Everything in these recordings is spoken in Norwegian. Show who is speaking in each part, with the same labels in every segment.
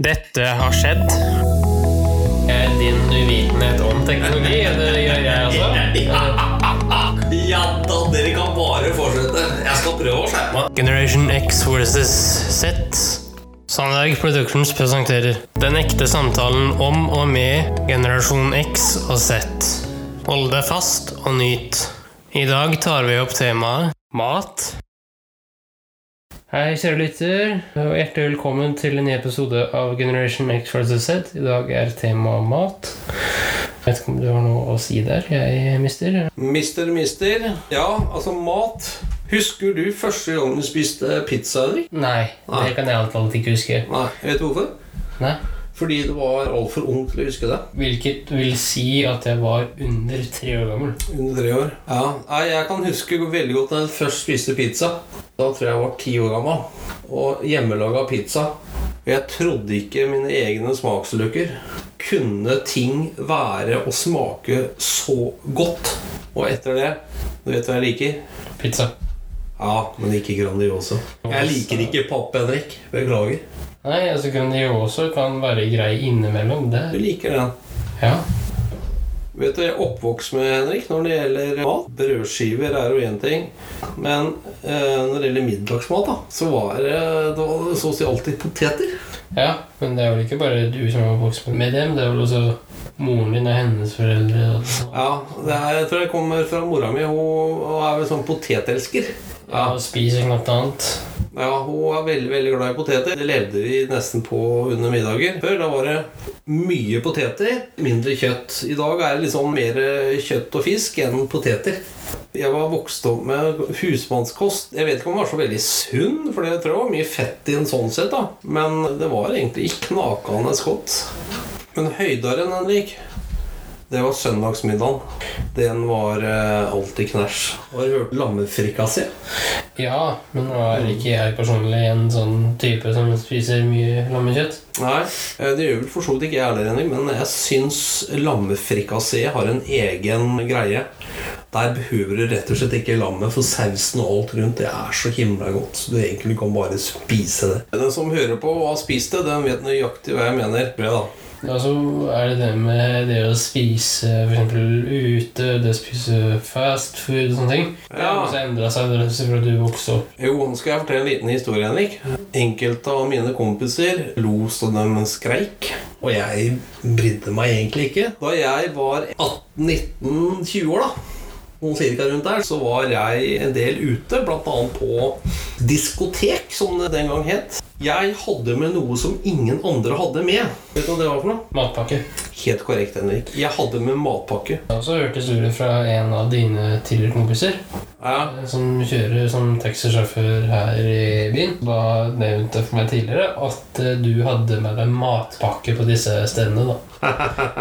Speaker 1: Dette har skjedd. Eh, Din uvitenhet om teknologi, det gjør jeg også.
Speaker 2: Ja da, dere kan bare fortsette. Jeg skal prøve å skjerpe meg.
Speaker 1: Generation X versus Z. Sandberg Productions presenterer Den ekte samtalen om og med generasjon X og Z. Hold deg fast og nyt. I dag tar vi opp temaet mat. Hei, kjære lytter, og hjertelig velkommen til en ny episode av Generation X versus Z. I dag er temaet mat. Jeg vet ikke om du har noe å si der, jeg mister.
Speaker 2: Mister, mister. Ja, altså mat. Husker du første gang du spiste pizza, Henrik?
Speaker 1: Nei, det
Speaker 2: Nei.
Speaker 1: kan jeg alltid ikke huske.
Speaker 2: Nei, jeg vet du hvorfor.
Speaker 1: Nei.
Speaker 2: Fordi du var altfor ung til å huske det.
Speaker 1: Hvilket vil si at jeg var under tre år gammel.
Speaker 2: Under tre år. Ja, Nei, Jeg kan huske veldig godt da jeg først spiste pizza. Da tror jeg jeg var ti år gammel. Og hjemmelaga pizza. Og jeg trodde ikke mine egne smakslykker. Kunne ting være og smake så godt? Og etter det Du vet hva jeg liker?
Speaker 1: Pizza.
Speaker 2: Ja, men ikke Grandiosa. Jeg liker ikke papp, Henrik. Beklager.
Speaker 1: Nei, altså Grandioso kan være grei innimellom.
Speaker 2: Du
Speaker 1: Det
Speaker 2: liker den.
Speaker 1: Ja.
Speaker 2: Vet du, jeg er oppvokst med Henrik når det gjelder mat. Brødskiver er jo én ting. Men eh, når det gjelder middagsmat, da, så var det, det var så å si alltid poteter.
Speaker 1: ja. Men det er vel ikke bare du som har vokst opp med dem. Det er vel også moren din og hennes foreldre. Og,
Speaker 2: Ja, det er, Jeg tror jeg kommer fra mora mi. Hun, hun er vel sånn potetelsker.
Speaker 1: ja. og spiser knapt annet.
Speaker 2: Ja, Hun er veldig veldig glad i poteter. Det levde vi nesten på under middager. Før da var det mye poteter, mindre kjøtt. I dag er det liksom mer kjøtt og fisk enn poteter. Jeg var vokst opp med husmannskost. Jeg vet ikke om den var så veldig sunn, for jeg tror det var mye fett i den sånn sett, da. Men det var egentlig ikke knakende godt. Men høydaren, Henrik, det var søndagsmiddagen. Den var eh, alltid knæsj. Har du hørt lammefrikassé?
Speaker 1: Ja, men nå er ikke jeg personlig en sånn type som spiser mye lammekjøtt.
Speaker 2: Nei, eh, det gjør vel for så vidt ikke jeg heller, Henrik, men jeg syns lammefrikassé har en egen greie. Der behøver du rett og slett ikke lammet, for sausen og alt rundt det er så himla godt. Så du egentlig kan bare spise det. Den som hører på og har spist det, den vet nøyaktig hva jeg mener. Tror jeg, da.
Speaker 1: Og så Altså, er det det med det å spise for eksempel ute, det å spise fast food og sånne ting. Det har
Speaker 2: Ja.
Speaker 1: også endra seg det er fra du vokste opp.
Speaker 2: Jo, nå skal jeg fortelle en liten historie, Henrik. Enkelte av mine kompiser lo så de skreik. Og jeg brydde meg egentlig ikke. Da jeg var 18-19-20 år, da, noen cirka rundt der, så var jeg en del ute, bl.a. på diskotek, som det den gang het. Jeg hadde med noe som ingen andre hadde med. Vet du hva det var for noe?
Speaker 1: Matpakke.
Speaker 2: Helt korrekt, Henrik. Jeg hadde med matpakke.
Speaker 1: Jeg har også hørt historier fra en av dine tidligere kompiser
Speaker 2: Ja,
Speaker 1: eh, som kjører som taxisjåfør her i byen. Da nevnte for meg tidligere at eh, du hadde med deg matpakke på disse stedene. da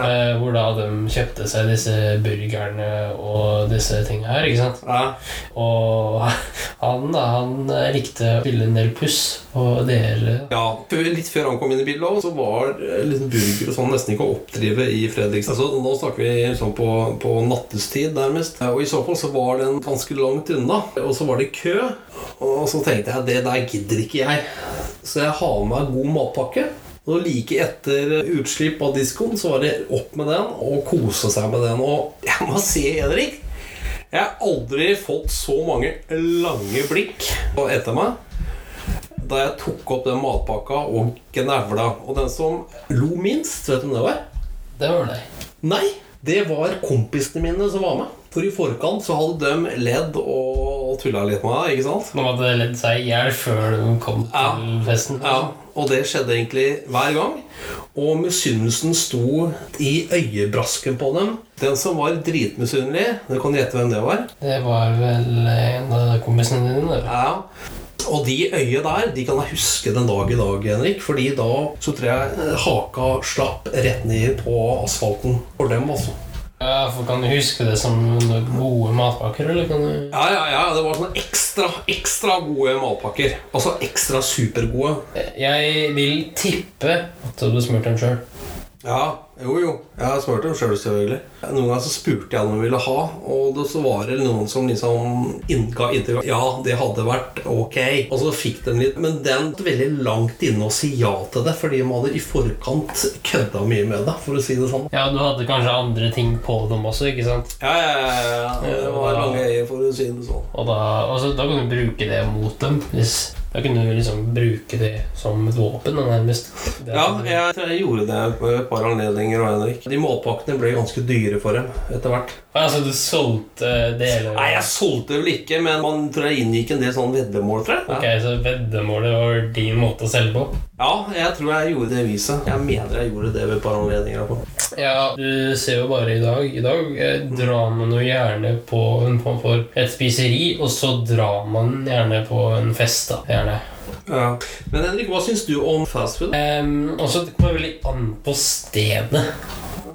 Speaker 1: eh, Hvor da de kjøpte seg disse burgerne og disse tinga her. ikke sant?
Speaker 2: ja.
Speaker 1: Og han, da, han eh, likte å spille en del puss på dere.
Speaker 2: Ja, før- Litt før han kom inn i bildet, også, så var eh, liksom burger og sånn nesten ikke å oppdrive i Fredrikstad. Altså, nå snakker vi sånn på, på nattestid, nærmest. Og I så fall så var den ganske langt unna. Og så var det kø. Og så tenkte jeg det der gidder ikke jeg. Så jeg har med meg god matpakke. Og like etter utslipp av diskoen så var det opp med den og kose seg med den. Og jeg må si, Henrik jeg har aldri fått så mange lange blikk etter meg da jeg tok opp den matpakka og gnevla. Og den som lo minst, vet du hvem det var?
Speaker 1: Det var deg.
Speaker 2: Nei, det var kompisene mine som var med. For i forkant så hadde de ledd og tulla litt med meg, ikke sant?
Speaker 1: De hadde ledd seg i hjel før de kom
Speaker 2: Ja.
Speaker 1: til festen.
Speaker 2: Ja, Og det skjedde egentlig hver gang. Og misunnelsen sto i øyebrasken på dem. Den som var dritmisunnelig, du kan gjette hvem det var.
Speaker 1: Det var vel en av kompisene dine. da.
Speaker 2: Ja. Og de øyet der de kan jeg huske den dag i dag, Henrik. Fordi da så tror jeg eh, haka slapp rett ned på asfalten. For dem, altså.
Speaker 1: Ja, for Kan du huske det som noen gode matpakker, eller kan du
Speaker 2: Ja, ja, ja. Det var sånne ekstra, ekstra gode matpakker. Altså ekstra supergode.
Speaker 1: Jeg vil tippe at du hadde smurt dem sjøl.
Speaker 2: Ja, jo jo. Jeg har smurt dem sjøl, selvfølgelig. Noen ganger så spurte jeg om de ville ha, og det så var det noen som liksom innga inntrykk av, Ja, det hadde vært ok. Og så fikk den litt Men den var veldig langt inne å si ja til det, fordi de hadde i forkant kødda mye med det, for å si det sånn.
Speaker 1: Ja, du hadde kanskje andre ting på dem også, ikke sant?
Speaker 2: Ja, ja, ja, ja. Det var lange øyer, for å si det sånn.
Speaker 1: Og da, og så, da kan du bruke det mot dem. Hvis, da kan du liksom bruke det som et våpen, da, nærmest. Det er- sånn-
Speaker 2: Ja, jeg tror jeg gjorde det på et par anledninger. og Henrik De målpakkene ble ganske dyre for dem etter hvert.
Speaker 1: Altså, du solgte deler
Speaker 2: Nei, jeg solgte vel ikke, men man tror jeg inngikk en del sånn veddemål, tror jeg.
Speaker 1: Ok, så veddemålet var din måte å selge på?
Speaker 2: Ja, jeg tror jeg gjorde det viset. Jeg mener jeg gjorde det ved et par anledninger. i hvert fall.
Speaker 1: Ja, du ser jo bare i dag. I dag eh, drar man jo gjerne på en form for et spiseri, og så drar man gjerne på en fest, da. Gjerne.
Speaker 2: Ja. Men Henrik, hva syns du om fast food?
Speaker 1: Um, og så det kommer veldig an på stedet.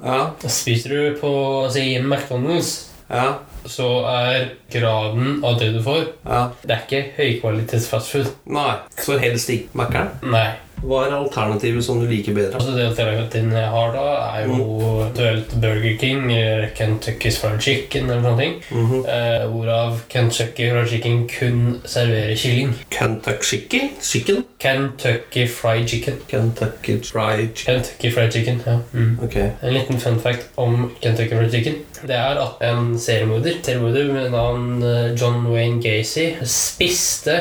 Speaker 2: Ja,
Speaker 1: Spiser du på si, McDonald's,
Speaker 2: ja,
Speaker 1: så er graden av det du får
Speaker 2: ja.
Speaker 1: Det er ikke høykvalitets fastfood. Nei.
Speaker 2: Så helst ikke Mækkern.
Speaker 1: Nei.
Speaker 2: Hva er alternativet som du liker bedre?
Speaker 1: Altså Det alternativet jeg har da, er jo eventuelt Burger King eller Kentucky's Fried Chicken eller noe sånt.
Speaker 2: Mhm.
Speaker 1: Eh, hvorav Kentucky Fried Chicken kun serverer kylling.
Speaker 2: Kentucky chicken? Chicken?
Speaker 1: Kentucky Fried Chicken.
Speaker 2: Kentucky fried chicken.
Speaker 1: Kentucky Fried Chicken, ja. Mm.
Speaker 2: Ok.
Speaker 1: En liten fun fact om Kentucky Fried Chicken. Det er at en seriemorder, seriemorder med navn eh, John Wayne Gacy, spiste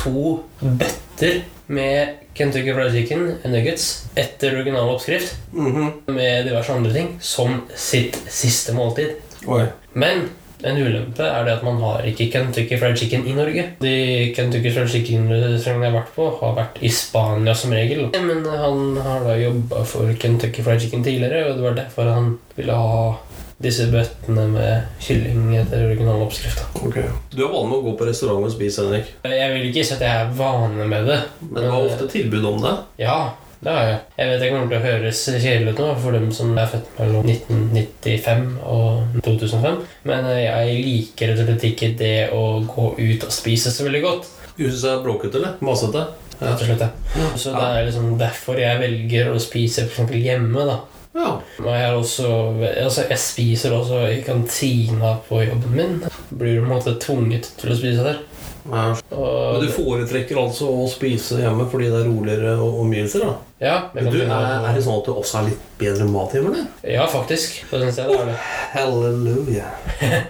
Speaker 1: to bøtter med Kentucky Fried Chicken nuggets etter original oppskrift.
Speaker 2: Mhm.
Speaker 1: med diverse andre ting som sitt siste måltid.
Speaker 2: Oi.
Speaker 1: Men en ulempe er det at man har ikke Kentucky Fried Chicken i Norge. De Kentucky Fried Chicken-restaurantene jeg har vært på, har vært i Spania som regel. Men han har da jobba for Kentucky Fried Chicken tidligere, og det var derfor han ville ha disse bøttene med kylling etter original oppskrift. da.
Speaker 2: Ok. Du er vant med å gå på restaurant og spise, Henrik.
Speaker 1: Jeg vil ikke si at jeg er vane med det.
Speaker 2: Men det var ofte tilbud om det.
Speaker 1: Ja, det har jeg. Jeg vet jeg kommer til å høres kjedelig ut nå for dem som er født mellom 1995 og 2005, men eh, jeg liker rett og slett ikke det å gå ut og spise så veldig godt.
Speaker 2: Du syns jeg er bråkete, eller? Masete?
Speaker 1: rett og slett. ja. Så det er liksom derfor jeg velger å spise for eksempel hjemme, da.
Speaker 2: Ja.
Speaker 1: Og jeg, er også, altså jeg spiser også i kantina på jobben min. Blir på en måte tvunget til å spise der.
Speaker 2: ja.
Speaker 1: Og,
Speaker 2: Men du foretrekker altså å spise hjemme fordi det er roligere og- omgivelser? da?
Speaker 1: ja, jeg
Speaker 2: Men
Speaker 1: kan
Speaker 2: du,
Speaker 1: finne-
Speaker 2: er, er det sånn at du også har litt bedre mat hjemme? eller?
Speaker 1: Ja, faktisk. Så synes jeg det er det.
Speaker 2: Halleluja.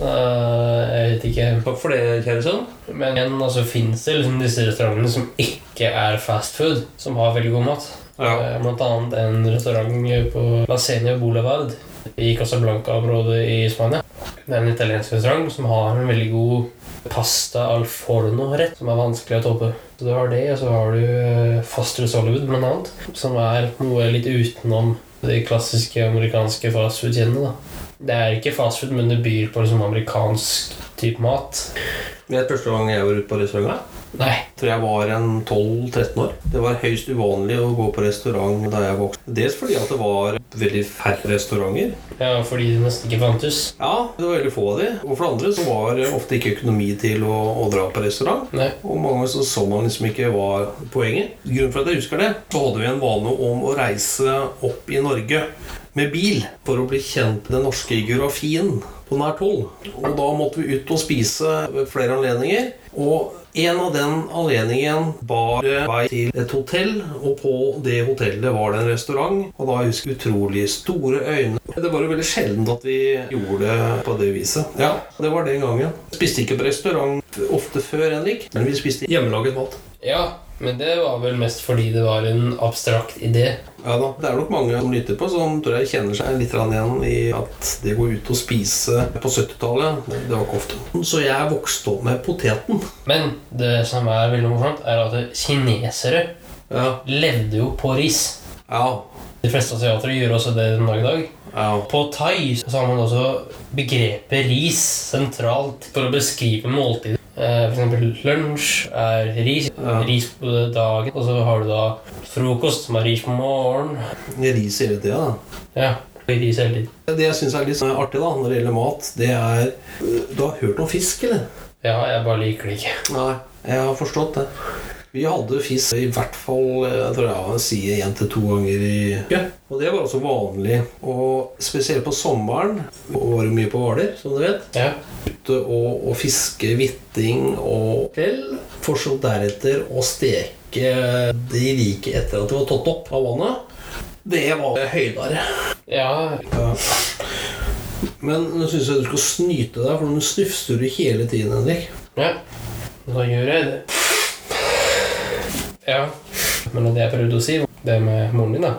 Speaker 1: Eh, jeg vet ikke
Speaker 2: Takk for det, kjære sønn.
Speaker 1: Men igjen, altså finnes det liksom disse restaurantene som ikke er fast food, som har veldig god mat. Eh, Blant annet en restaurant på Lasenia Boulevard i Casablanca-området i Spania. Det er en italiensk restaurant som har en veldig god pasta al forno-rett, som er vanskelig å toppe. Så du har det, og så har du eh, Foster's Hollywood, blant annet, som er noe litt utenom de klassiske amerikanske fastfood-kjedene. da. Det er ikke fastfood, men det byr på liksom amerikansk type mat.
Speaker 2: Det er første gang jeg var ute på restaurant.
Speaker 1: Nei,
Speaker 2: Jeg tror jeg var en 12-13 år. Det var høyst uvanlig å gå på restaurant da jeg vokste. Dels fordi at det var veldig færre restauranter.
Speaker 1: Ja, fordi det nesten ikke fantes.
Speaker 2: Ja, det var veldig få av de. Og for det andre så var det ofte ikke økonomi til å, å dra på restaurant.
Speaker 1: Nei.
Speaker 2: Og mange ganger så så man liksom ikke hva poenget. Grunnen for at jeg husker det, så hadde vi en vane om å reise opp i Norge med bil for å bli kjent med den norske geografien på nært hold. Og da måtte vi ut og spise ved flere anledninger. Og en av den anledningen bar vei til et hotell, og på det hotellet var det en restaurant. Og da husker jeg utrolig store øyne. Det var jo veldig sjelden at vi gjorde det på det viset. Ja, Det var den gangen. Spiste ikke på restaurant ofte før, Henrik, men vi spiste hjemmelaget mat.
Speaker 1: Ja, men det var vel mest fordi det var en abstrakt idé.
Speaker 2: Ja da, Det er nok mange som lytter på, som tror jeg kjenner seg litt grann igjen i at det å gå ut og spise på 70-tallet, det var ikke ofte. Så jeg vokste opp med poteten.
Speaker 1: Men det som er veldig morsomt, er at kinesere
Speaker 2: Ja,
Speaker 1: levde jo på ris.
Speaker 2: ja,
Speaker 1: De fleste asiatere gjør også det den dag i dag.
Speaker 2: ja.
Speaker 1: På thai så har man også begrepet ris sentralt for å beskrive måltider. Eh, For eksempel lunsj er ris.
Speaker 2: Ja.
Speaker 1: Ris på dagen. Og så har du da frokost, som er ris på morgenen.
Speaker 2: Ris hele tida, da.
Speaker 1: Ja, ris hele tiden.
Speaker 2: Det jeg syns er litt sånn artig da, når det gjelder mat, det er Du har hørt om fisk, eller?
Speaker 1: Ja, jeg bare liker det ikke.
Speaker 2: Nei. Jeg har forstått det. Vi hadde fisk i hvert fall jeg tror jeg var si én til to ganger i uka. Og det var også vanlig. Og spesielt på sommeren og var det mye på Hvaler, som du vet.
Speaker 1: Ja.
Speaker 2: Ute og, og fiske hvitting og krell. For så deretter å steke de rike etter at de var tatt opp av vannet. Det var høydere.
Speaker 1: ja.
Speaker 2: Men nå syns jeg du skal snyte deg, for nå snufser du hele tiden, Henrik.
Speaker 1: ja. Da gjør jeg det. Ja. Men det jeg prøvde å si, det med moren din, da,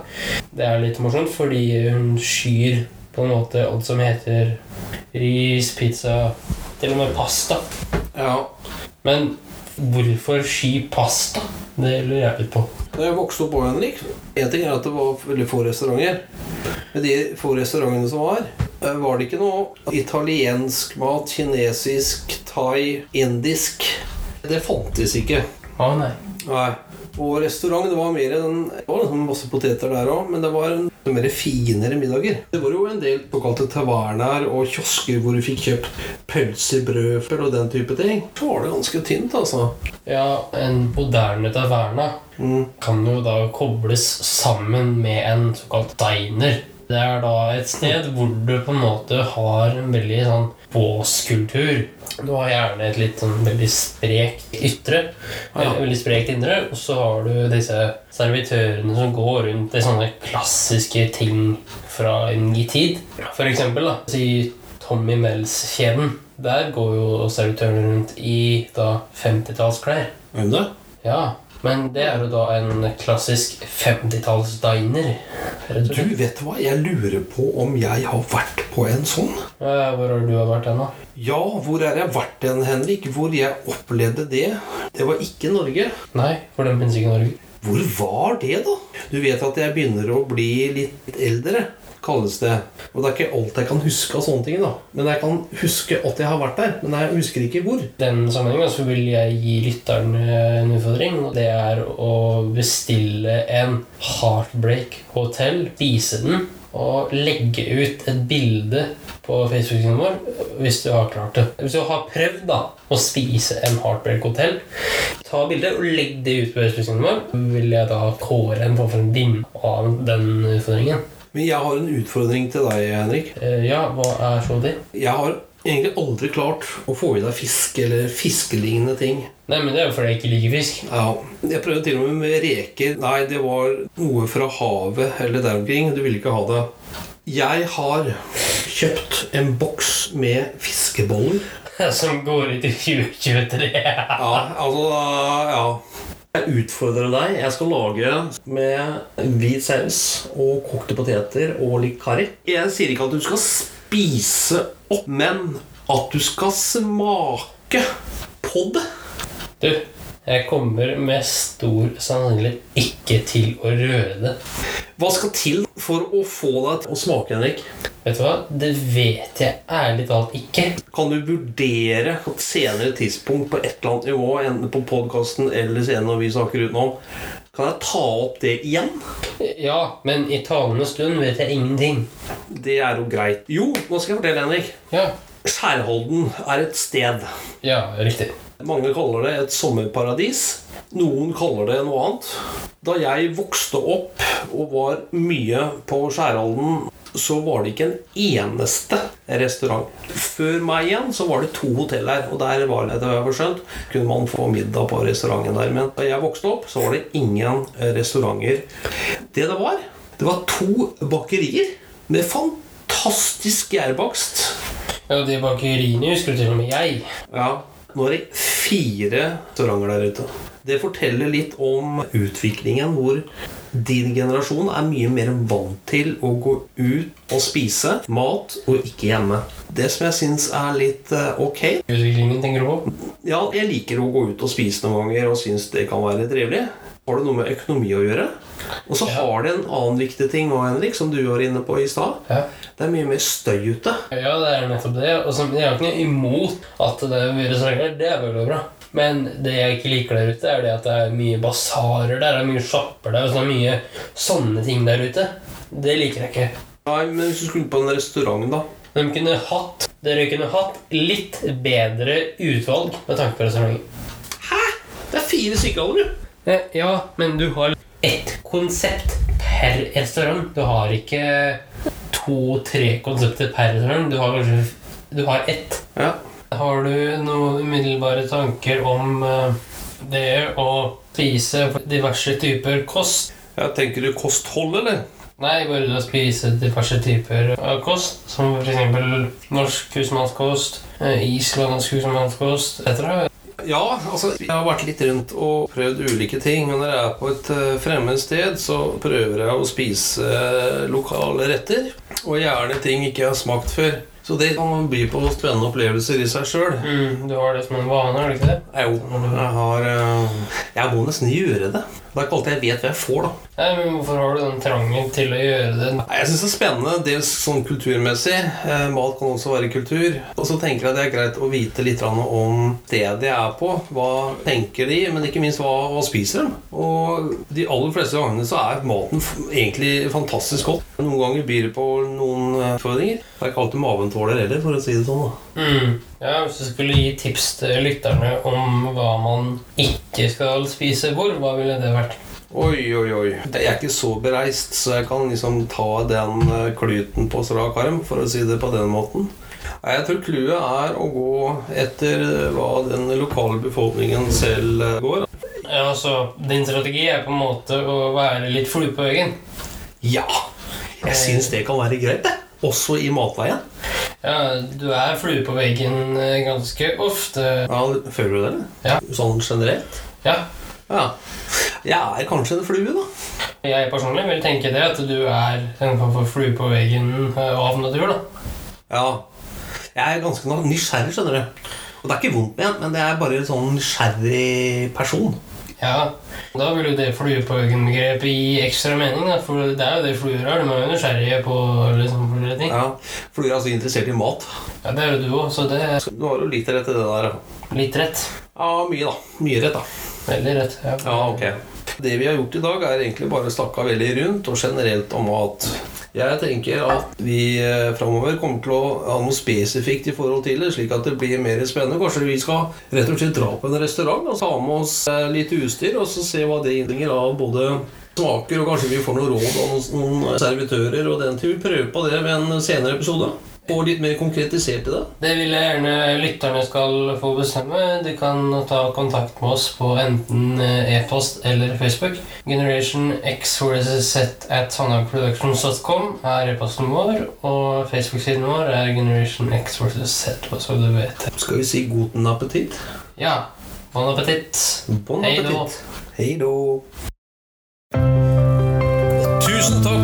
Speaker 1: det er litt morsomt fordi hun skyr på en måte alt som heter ris, pizza, til og med pasta.
Speaker 2: Ja.
Speaker 1: Men hvorfor sky pasta? Det lurer jeg litt på.
Speaker 2: Da jeg vokste opp på Henrik En ting er at det var veldig få restauranter. Men de få restaurantene som var, eh, var det ikke noe italiensk mat, kinesisk, thai, indisk Det fantes ikke.
Speaker 1: Å nei.
Speaker 2: Nei. Og restaurant, det var mer en Det var liksom masse poteter der òg, men det var en mer finere middager. Det var jo en del såkalte tavernaer og kiosker hvor du fikk kjøpt pølser, brødfør og den type ting. Så var det ganske tynt, altså.
Speaker 1: Ja, en moderne taverna
Speaker 2: Mm.
Speaker 1: kan jo da kobles sammen med en såkalt diner. Det er da et sted hvor du på en måte har en veldig sånn båskultur. Du har gjerne et litt sånn veldig sprekt ytre,
Speaker 2: Ja.
Speaker 1: eller veldig sprekt indre, og så har du disse servitørene som går rundt i sånne klassiske ting fra en gitt tid. For eksempel, da, si Tommy Mells-kjeden. Der går jo servitørene rundt i da 50-tallsklær.
Speaker 2: Hvem det?
Speaker 1: Ja, men det er jo da en klassisk 50-talls-diner. rett og
Speaker 2: Du
Speaker 1: slett.
Speaker 2: vet hva, jeg lurer på om jeg har vært på en sånn.
Speaker 1: Eh, Hvor har du vært hen, da?
Speaker 2: Ja, hvor er jeg vært hen, Henrik? Hvor jeg opplevde det? Det var ikke Norge.
Speaker 1: Nei, for den finnes ikke i Norge.
Speaker 2: Hvor var det, da? Du vet at jeg begynner å bli litt eldre, kalles det. Og det er ikke alt jeg kan huske av sånne ting, da. Men jeg kan huske at jeg har vært der. Men jeg husker ikke hvor.
Speaker 1: I den sammenhengen så vil jeg gi lytteren eh, en utfordring. og Det er å bestille en Heartbreak Hotel, spise den og legge ut et bilde på Facebook-siden vår hvis du har klart det. Hvis du har prøvd da å spise en Heartbreak Hotel, ta bilde og legg det ut på Facebook-siden vår. Vil jeg da kåre en form for en vinner av den utfordringen?
Speaker 2: Men jeg har en utfordring til deg, Henrik.
Speaker 1: Eh, Ja, hva er så det?
Speaker 2: Jeg har egentlig aldri klart å få i deg fisk eller fiskelignende ting.
Speaker 1: Nei, men det er jo fordi jeg ikke liker fisk.
Speaker 2: Ja, Jeg prøvde til og med med reker. Nei, det var noe fra havet eller der omkring. Du ville ikke ha det. Jeg har kjøpt en boks med fiskeboller.
Speaker 1: Som går ut i 2023.
Speaker 2: Ja, altså Ja. Jeg utfordrer deg. Jeg skal lage med hvit saus og kokte poteter og litt karri. Jeg sier ikke at du skal spise opp, men at du skal smake på det.
Speaker 1: Du, jeg kommer med stor sannsynlighet ikke til å røre det.
Speaker 2: Hva skal til for å få deg til å smake, Henrik?
Speaker 1: Vet du hva? Det vet jeg ærlig talt ikke.
Speaker 2: Kan du vurdere på et senere tidspunkt på et eller annet nivå, enten på podkasten eller senere når vi snakker utenom, kan jeg ta opp det igjen?
Speaker 1: Ja, men i talende stund vet jeg ingenting.
Speaker 2: Det er jo greit. Jo, nå skal jeg fortelle, Henrik.
Speaker 1: Ja,
Speaker 2: Skjærholden er et sted.
Speaker 1: ja riktig.
Speaker 2: Mange kaller det et sommerparadis. Noen kaller det noe annet. Da jeg vokste opp og var mye på Skjærholden, så var det ikke en eneste restaurant. Før meg igjen så var det to hotell her, og der var det, etter hva jeg har skjønt, kunne man få middag på restauranten der. Men da jeg vokste opp, så var det ingen restauranter. Det det var, det var to bakerier med fantastisk gjærbakst.
Speaker 1: Ja, de bakeriene husker til og med jeg.
Speaker 2: Ja, nå er det fire restauranter der ute. Det forteller litt om utviklingen hvor din generasjon er mye mer vant til å gå ut og spise mat, og ikke hjemme. Det som jeg syns er litt eh, ok
Speaker 1: Utviklingen tenker du på?
Speaker 2: Ja, jeg liker å gå ut og spise noen ganger og syns det kan være trivelig. Har det noe med økonomi å gjøre? Og så
Speaker 1: Ja.
Speaker 2: har det en annen viktig ting òg, Henrik, som du var inne på i stad.
Speaker 1: Ja.
Speaker 2: Det er mye mer støy ute.
Speaker 1: Ja, det er nettopp det. Og som, jeg er ikke noe imot at det er mye restauranter. Det er veldig bra. Men det jeg ikke liker der ute, er det at det er mye basarer der, det er mye shopper der, og så er det mye sånne ting der ute. Det liker jeg ikke.
Speaker 2: Nei, men hvis du skulle på en restaurant, da
Speaker 1: De kunne hatt, dere kunne hatt litt bedre utvalg med tanke på restauranten.
Speaker 2: Det er fire stykker av dem, jo.
Speaker 1: Eh, Ja, men du har ett konsept per restaurant. Du har ikke to-tre konsepter per restaurant. Du har kanskje Du har ett.
Speaker 2: Ja.
Speaker 1: Har du noen umiddelbare tanker om eh, det å spise diverse typer kost?
Speaker 2: ja. Tenker du kosthold, eller?
Speaker 1: Nei, bare det å spise diverse typer av kost, som f.eks. norsk husmannskost, eh, islandsk husmannskost etc.
Speaker 2: Ja, altså jeg har vært litt rundt og prøvd ulike ting. Men når jeg er på et eh, fremmed sted, så prøver jeg å spise eh, lokale retter. Og gjerne ting ikke jeg har smakt før. Så det kan by på spennende opplevelser i seg sjøl.
Speaker 1: Mm, du har det som en vane, har du ikke det?
Speaker 2: Jo, jeg har eh, Jeg må nesten gjøre det. Det er ikke alltid jeg vet hva jeg får, da.
Speaker 1: Nei, men Hvorfor har du den trangen til å gjøre det?
Speaker 2: Nei, Jeg syns det er spennende, dels sånn kulturmessig. Eh, Mat kan også være kultur. Og så tenker jeg det er greit å vite litt grann om stedet jeg er på. Hva tenker de, men ikke minst hva, hva spiser de? Og de aller fleste gangene så er maten f egentlig fantastisk godt. Noen ganger byr det på noen eh, utfordringer. Det er ikke alltid maven tåler heller, for å si det sånn. da.
Speaker 1: Mm. Ja, Hvis du skulle gi tips til lytterne om hva man ikke skal spise hvor, hva ville det vært?
Speaker 2: Oi, oi, oi. Jeg er ikke så bereist, så jeg kan liksom ta den eh, kluten på strak arm, for å si det på den måten. Nei, Jeg tror clouet er å gå etter eh, hva den lokale befolkningen selv eh, går.
Speaker 1: Ja, altså, Din strategi er på en måte å være litt flue på veggen.
Speaker 2: Ja! Jeg syns det kan være greit, det. Også i matveien.
Speaker 1: Ja, du er flue på veggen eh, ganske ofte.
Speaker 2: Ja, Føler du det? eller?
Speaker 1: Ja.
Speaker 2: Sånn generelt?
Speaker 1: Ja,
Speaker 2: Ja. Jeg er kanskje en flue, da.
Speaker 1: jeg personlig vil tenke det, at du er en form for flue på veggen eh, av natur, da.
Speaker 2: Ja. Jeg er ganske nysgjerrig, skjønner du. Og det er ikke vondt ment, men det er bare en sånn nysgjerrig person.
Speaker 1: Ja, da vil jo det flue på veggen-begrepet gi ekstra mening, da. For det er jo det fluer er. De er jo nysgjerrige på liksom, forskjellige ting.
Speaker 2: Ja, for du er altså interessert i mat.
Speaker 1: Ja, det er jo du òg, så det er
Speaker 2: Så Du har jo litt rett i det der.
Speaker 1: litt rett.
Speaker 2: Ja, mye da. Mye rett, da.
Speaker 1: Veldig rett. Ja,
Speaker 2: Det vi har gjort i dag, er egentlig bare snakka veldig rundt og generelt om mat. Jeg tenker at vi eh, framover kommer til å ha noe spesifikt i forhold til det, slik at det blir mer spennende. Kanskje vi skal rett og slett dra på en restaurant og ta med oss eh, litt utstyr, og så se hva det innbringer av både smaker, og kanskje vi får noe råd av noen- noen servitører og den til. Vi prøver på det ved en senere episode. Og litt mer konkretisert i det.
Speaker 1: Det vil jeg gjerne lytterne skal få bestemme. De kan ta kontakt med oss på enten eh, e-post eller Facebook. Generation X versus Z at sandhagproductions.com er e-posten vår, og Facebook-siden vår er Generation X versus Z, bare så du vet det.
Speaker 2: Skal vi si guten appetitt?
Speaker 1: Ja, bon appétit!
Speaker 2: Bon
Speaker 1: Hei
Speaker 2: appetitt.
Speaker 1: då.
Speaker 2: Hei då. Tusen takk